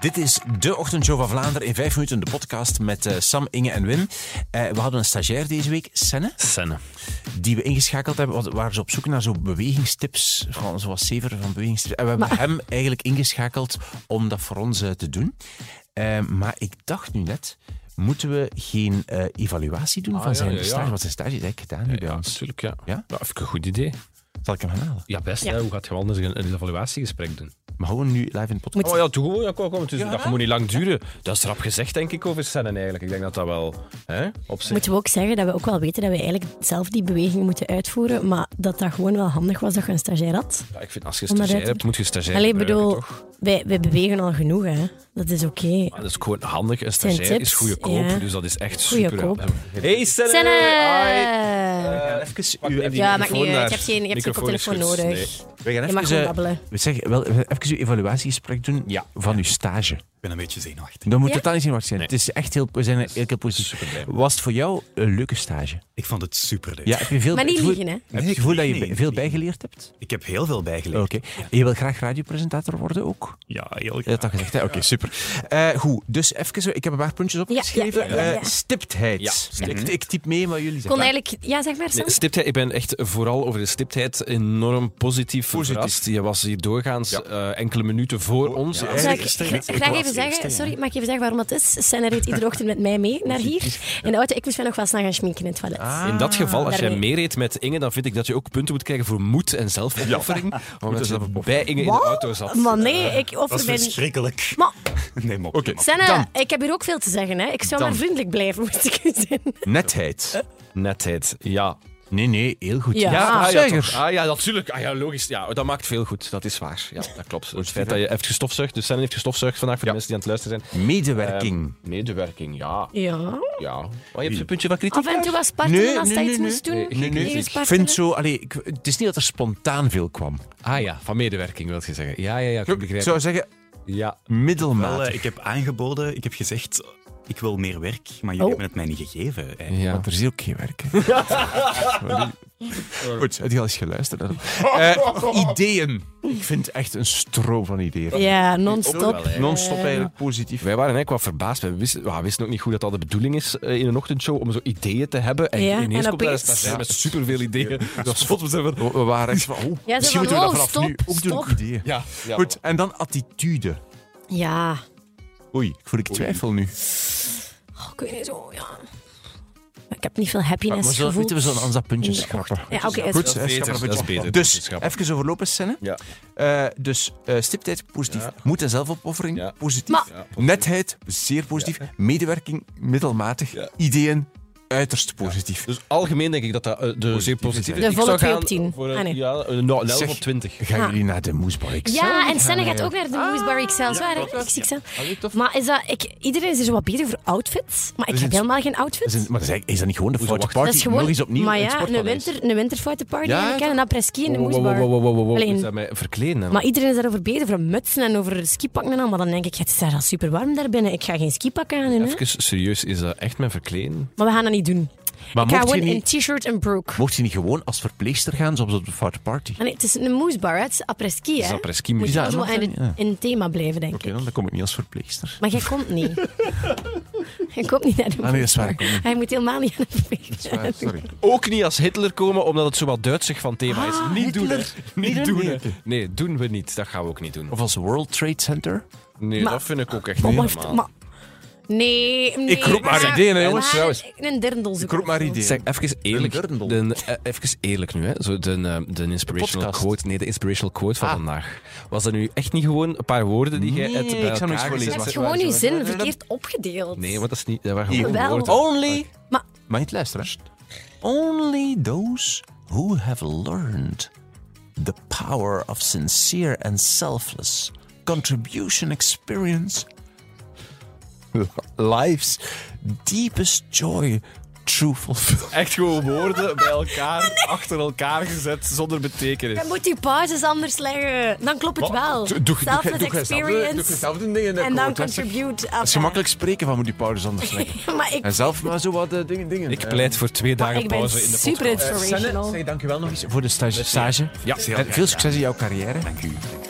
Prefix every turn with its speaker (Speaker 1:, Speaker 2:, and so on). Speaker 1: Dit is de ochtendshow van Vlaanderen in vijf minuten. De podcast met eh, Sam, Inge en Wim. Eh, we hadden een stagiair deze week, Senne,
Speaker 2: Senne.
Speaker 1: die we ingeschakeld hebben. Want we waren ze op zoek naar zo'n bewegingstips, van, zoals Sever van bewegingstips. En we hebben hem eigenlijk ingeschakeld om dat voor ons eh, te doen. Eh, maar ik dacht nu net, moeten we geen eh, evaluatie doen van
Speaker 2: Ah, ja,
Speaker 1: zijn
Speaker 2: ja, ja.
Speaker 1: stage? Wat zijn stage is eigenlijk gedaan nu bij
Speaker 2: Ja,
Speaker 1: ons.
Speaker 2: natuurlijk, ja.
Speaker 1: Ja?
Speaker 2: Dat vind ik een goed idee.
Speaker 1: Zal ik hem gaan halen?
Speaker 2: Ja, best.
Speaker 3: Ja.
Speaker 2: Hè? Hoe gaat je wel anders een, een evaluatiegesprek doen?
Speaker 1: Maar gewoon nu live in de podcast.
Speaker 3: Moet-
Speaker 2: Oh ja, toch gewoon. Ja, kom, kom, het is-
Speaker 1: Ja,
Speaker 2: dat
Speaker 1: hè?
Speaker 2: moet niet lang duren. Dat is rap gezegd, denk ik, over Senne eigenlijk. Ik denk dat dat wel hè, op zich...
Speaker 3: Moeten we ook zeggen dat we ook wel weten dat we eigenlijk zelf die beweging moeten uitvoeren, maar dat dat gewoon wel handig was dat je een stagiair had.
Speaker 2: Ja, ik vind, als je
Speaker 3: Om dat
Speaker 2: stagiair
Speaker 3: uit te-
Speaker 2: hebt, moet je stagiair
Speaker 3: Allee,
Speaker 2: gebruiken,
Speaker 3: bedoel,
Speaker 2: toch?
Speaker 3: wij, wij bewegen al genoeg, hè. Dat is oké.
Speaker 2: Maar dat is gewoon handig. Een stagiair
Speaker 3: tips,
Speaker 2: is goede koop,
Speaker 3: ja.
Speaker 2: dus dat is echt
Speaker 3: Goeie
Speaker 2: super.
Speaker 3: koop.
Speaker 2: Hey Senne!
Speaker 3: Senne!
Speaker 2: Hi.
Speaker 1: We gaan
Speaker 2: Eh,
Speaker 1: even,
Speaker 2: pak
Speaker 1: uw-
Speaker 2: even die
Speaker 3: Ja,
Speaker 2: microfoon
Speaker 3: maakt niet uit. Je
Speaker 2: daar.
Speaker 3: hebt geen- je hebt geen
Speaker 2: Microfoon is
Speaker 3: koptelefoon
Speaker 2: goed.
Speaker 3: nodig.
Speaker 2: Nee.
Speaker 1: we gaan
Speaker 3: Je mag
Speaker 1: even,
Speaker 3: gewoon
Speaker 1: eh,
Speaker 3: babbelen.
Speaker 1: we zeggen, wel, even uw evaluatiegesprek doen
Speaker 2: Ja.
Speaker 1: van uw stage.
Speaker 4: Ik ben een beetje zenuwachtig.
Speaker 1: Dan moet
Speaker 3: Ja?
Speaker 1: het dan niet in wacht zijn.
Speaker 2: Nee.
Speaker 1: Het is echt heel, we zijn heel, heel positief.
Speaker 2: Super blij.
Speaker 1: Was het voor jou een leuke stage?
Speaker 4: Ik vond het superleuk.
Speaker 1: Ja, heb je veel
Speaker 3: Maar niet
Speaker 1: het gevoel-
Speaker 3: liegen, hè.
Speaker 1: Heb je het
Speaker 4: Nee,
Speaker 1: gevoel
Speaker 4: ik
Speaker 1: dat je
Speaker 4: lieg
Speaker 1: be-
Speaker 4: niet,
Speaker 1: veel
Speaker 4: ik lieg
Speaker 1: bijgeleerd hebt?
Speaker 4: Ik heb heel veel
Speaker 1: Oké.
Speaker 4: bijgeleerd.
Speaker 1: En je wil graag radiopresentator worden ook?
Speaker 4: Ja, heel
Speaker 1: Je hebt dat gezegd, hè? Oké, super. Eh, goed, dus even, zo, ik heb een paar puntjes opgeschreven.
Speaker 3: ja, ja, ja, ja.
Speaker 1: Eh, stiptheid.
Speaker 2: Ja,
Speaker 1: Ik, ik typ mee, maar jullie
Speaker 3: kon
Speaker 1: zeggen...
Speaker 3: eigenlijk... Ja, zeg maar, Sam.
Speaker 2: Nee, stiptheid, ik ben echt vooral over de stiptheid enorm positief, verrast. Je was hier doorgaans eh, enkele minuten voor ons.
Speaker 4: ja.
Speaker 2: aan
Speaker 3: Zou
Speaker 2: de
Speaker 3: ik
Speaker 2: gestegen.
Speaker 3: gra- graag even zeggen, sorry, mag ik even zeggen waarom dat is? Senna reed iedere ochtend met mij mee naar hier. In de auto, ik moest mij nog wel snel gaan schminken in het toilet.
Speaker 2: In dat geval, als jij
Speaker 3: Daarmee.
Speaker 2: meereed met Inge, dan vind ik dat je ook punten moet krijgen voor moed en zelfopoffering. Omdat je bij Inge in de auto zat.
Speaker 3: Maar nee, ik
Speaker 4: Dat
Speaker 3: offer
Speaker 4: is
Speaker 3: mij niet.
Speaker 4: verschrikkelijk.
Speaker 3: Maar
Speaker 4: Nee, mop. mop.
Speaker 3: Senna, ik heb hier ook veel te zeggen, hè. Ik zou maar vriendelijk blijven, moest ik u zeggen.
Speaker 1: Netheid.
Speaker 2: Netheid, ja.
Speaker 1: Nee, nee, heel goed.
Speaker 3: Eh? Ja. Ah,
Speaker 2: ah, ja,
Speaker 1: zeker.
Speaker 2: toch. ah, ja, natuurlijk. Ah, ja, logisch. Ja, dat maakt veel goed. Dat is waar. Ja, dat klopt. Het feit dat je heeft gestofzuigd. Dus Senne heeft gestofzuigd vandaag voor de mensen die aan het luisteren zijn.
Speaker 3: Ehm,
Speaker 2: Ehm,
Speaker 1: Medewerking.
Speaker 2: Medewerking, ja.
Speaker 3: Ja.
Speaker 2: ja. Oh, je hebt een puntje van kritiek.
Speaker 3: Af en toe was spartelen als hij iets moest doen.
Speaker 2: Nee, geen kritiek.
Speaker 1: Ik
Speaker 3: spartelen.
Speaker 1: vind zo, allee, ik, het is niet dat er spontaan veel kwam.
Speaker 2: Ah ja, van medewerking wil je zeggen. Ja, ja, ja. Ik
Speaker 1: Ik
Speaker 2: begrijp.
Speaker 1: zou zeggen,
Speaker 2: Ja.
Speaker 1: middelmatig.
Speaker 4: Wel, eh, ik heb aangeboden, ik heb gezegd, ik wil meer werk, maar jullie
Speaker 3: Oh.
Speaker 4: hebben het mij niet gegeven. eigenlijk.
Speaker 2: ja.
Speaker 1: Want er is ook geen werk. hè. Goed, heb je al eens geluisterd? Eh, ideeën. Ik vind echt een stroom van ideeën.
Speaker 3: Ja,
Speaker 2: Ook
Speaker 3: non-stop.
Speaker 2: wel, hè.
Speaker 1: Non-stop eigenlijk positief.
Speaker 2: Wij waren eigenlijk wat verbaasd. We wisten, we wisten ook niet goed dat dat de bedoeling is eh, in een ochtendshow om zo ideeën te hebben. En
Speaker 3: Ja,
Speaker 2: ineens
Speaker 3: en
Speaker 2: komt daar een
Speaker 3: opeens-
Speaker 2: stagiair met superveel ideeën. Dat is we zijn van...
Speaker 1: We, we waren echt van, oh,
Speaker 3: Ja,
Speaker 1: misschien
Speaker 3: zo
Speaker 1: moeten
Speaker 3: van,
Speaker 1: we dat
Speaker 3: oh,
Speaker 1: vanaf nu
Speaker 3: stop,
Speaker 1: ook doen.
Speaker 3: stop.
Speaker 1: Ideeën.
Speaker 2: Ja, ja
Speaker 1: Goed, en dan attitude.
Speaker 3: Ja.
Speaker 1: Oei, ik voel ik twijfel nu.
Speaker 3: Oh, ik weet niet zo, ja. Maar Ik heb niet veel
Speaker 1: Maar
Speaker 3: happiness
Speaker 1: zo,
Speaker 3: gevoeld.
Speaker 1: weten we zullen aan dat puntje
Speaker 3: in de
Speaker 1: schrappen.
Speaker 3: Ja, oké. is
Speaker 1: Goed,
Speaker 3: goed.
Speaker 1: hè,
Speaker 2: beter,
Speaker 1: schrappen
Speaker 2: dat
Speaker 1: puntje.
Speaker 2: is beter, dat is
Speaker 1: Dus,
Speaker 2: schrappen.
Speaker 1: even over lopen scennen.
Speaker 2: Ja.
Speaker 1: Eh, dus eh, stiptheid, positief. Moed en zelfopoffering,
Speaker 2: Ja.
Speaker 1: positief.
Speaker 3: Maar-
Speaker 1: Netheid, zeer positief. Medewerking, middelmatig.
Speaker 2: Ja.
Speaker 1: Ideeën, uiterst positief.
Speaker 2: Dus algemeen denk ik dat dat eh, de zeer positief is.
Speaker 3: De
Speaker 2: Ik
Speaker 3: volle
Speaker 2: zou
Speaker 3: twee
Speaker 2: gaan
Speaker 3: op tien.
Speaker 2: Voor een,
Speaker 3: Ah, nee.
Speaker 2: Ja, een nou, een elf
Speaker 1: Zeg.
Speaker 2: op 20.
Speaker 1: Gaan
Speaker 3: Ah.
Speaker 1: jullie naar de Moesbar Excel?
Speaker 3: Ja, en Senne gaat ook naar de Moose Bar XL. Zwaar,
Speaker 1: klopt,
Speaker 3: hè?
Speaker 1: Ah, ja. Ah,
Speaker 3: XXL. Maar is dat... Ik, iedereen is er zo wat beter voor outfits. Maar ik
Speaker 1: Dus
Speaker 3: heb
Speaker 1: het-
Speaker 3: helemaal geen outfit.
Speaker 1: Dat is, een- maar dat is, eigenlijk- is dat niet gewoon de foute
Speaker 2: wacht.
Speaker 1: party?
Speaker 3: Dat is gewoon...
Speaker 1: Nog eens opnieuw
Speaker 3: maar
Speaker 1: een
Speaker 3: ja, een,
Speaker 1: sportpaleis.
Speaker 3: winter, een winterfoutenparty.
Speaker 1: Ja,
Speaker 3: en ik ken een apres-ski in de Moose Bar. Alleen-
Speaker 2: Moet je dat mij verkleden? hè?
Speaker 3: Maar iedereen is daarover bezig, over mutsen en over skipakken en al. Maar dan denk ik, het is daar al super warm daar binnen. Ik ga geen skipak aan doen, hè.
Speaker 2: Even serieus, is dat echt mijn verkleden?
Speaker 3: Maar we gaan dat niet doen.
Speaker 1: Maar
Speaker 3: ik ga
Speaker 1: mocht je,
Speaker 3: gewoon in
Speaker 1: niet,
Speaker 3: t-shirt en broek.
Speaker 1: mocht je niet gewoon als verpleegster gaan, zoals op de foute party?
Speaker 3: Ah, nee, het is een moesbar, hè. het is après-ski.
Speaker 2: is
Speaker 3: hè.
Speaker 2: après-ski,
Speaker 3: Moet je
Speaker 2: ja,
Speaker 3: wel zo
Speaker 1: mag
Speaker 3: in,
Speaker 1: dat niet, ja.
Speaker 3: in het thema blijven, denk
Speaker 1: Oké,
Speaker 3: ik.
Speaker 1: dan, dan kom ik niet als verpleegster.
Speaker 3: Maar jij komt niet. jij komt niet naar de
Speaker 1: Ah nee, dat is waar. ik
Speaker 3: moesbar.
Speaker 1: kom niet.
Speaker 3: Hij moet helemaal niet aan de veeg.
Speaker 1: Dat is waar, Sorry.
Speaker 2: Ook niet als Hitler komen, omdat het zo wat Duitsig van thema
Speaker 3: Ah,
Speaker 2: is. niet doen, hè. Niet
Speaker 1: Nee,
Speaker 2: doen,
Speaker 1: nee.
Speaker 2: hè. Nee, doen we niet. Dat gaan we ook niet doen.
Speaker 1: Of als World Trade Center.
Speaker 2: Nee,
Speaker 3: Maar-
Speaker 2: dat vind ik ook echt
Speaker 3: Maar
Speaker 2: niet
Speaker 3: wacht,
Speaker 2: normaal.
Speaker 3: maar... Nee, nee.
Speaker 1: roep maar
Speaker 3: we gaan-
Speaker 1: ideeën, hè,
Speaker 3: we
Speaker 1: jongens,
Speaker 3: gaan
Speaker 1: trouwens.
Speaker 3: Een dirndl zoeken.
Speaker 1: roep maar
Speaker 3: of zo.
Speaker 1: ideeën.
Speaker 2: Zeg, even eerlijk,
Speaker 1: Een dirndl.
Speaker 2: de, eh, even eerlijk nu, hè. Zo, de, eh, de inspirational
Speaker 1: podcast.
Speaker 2: quote, nee, de inspirational quote van
Speaker 1: Ah.
Speaker 2: vandaag. Was dat nu echt niet gewoon een paar woorden die jij
Speaker 1: Nee,
Speaker 2: uit eh,
Speaker 1: ik
Speaker 2: bij
Speaker 1: zou nog eens
Speaker 2: elkaar
Speaker 1: voorlezen.
Speaker 3: Je
Speaker 1: Waar-
Speaker 2: gezet
Speaker 3: hebt
Speaker 2: hebt?
Speaker 3: gewoon je
Speaker 2: Waar-
Speaker 3: zin verkeerd opgedeeld.
Speaker 2: Nee, want dat is niet... Dat waren gewoon
Speaker 3: Jawel.
Speaker 1: Oh.
Speaker 2: woorden.
Speaker 1: Only.
Speaker 3: Maar-
Speaker 1: Ah, Mag je het luisteren? Only those who have learned the power of sincere and selfless contribution experience life's deepest joy true fulfillment.
Speaker 2: Echt gewoon woorden bij elkaar, achter elkaar gezet, zonder betekenis.
Speaker 3: Dan moet je pauzes anders leggen. Dan klopt het wel. Selfless experience.
Speaker 1: dingen.
Speaker 3: En dan contribute.
Speaker 1: Dat is gemakkelijk spreken van moet die pauzes anders leggen.
Speaker 3: maar ik,
Speaker 1: En zelf maar zo wat eh, dingen. dingen.
Speaker 2: Ik pleit voor twee
Speaker 3: maar
Speaker 2: dagen
Speaker 3: ik ben
Speaker 2: pauze in de
Speaker 3: super
Speaker 2: podcast.
Speaker 1: Eh,
Speaker 3: inspirational.
Speaker 1: Zeg, dankjewel nog eens voor de stage. stage.
Speaker 2: Ja,
Speaker 1: En veel succes in jouw carrière.
Speaker 4: Dank u. Dank u.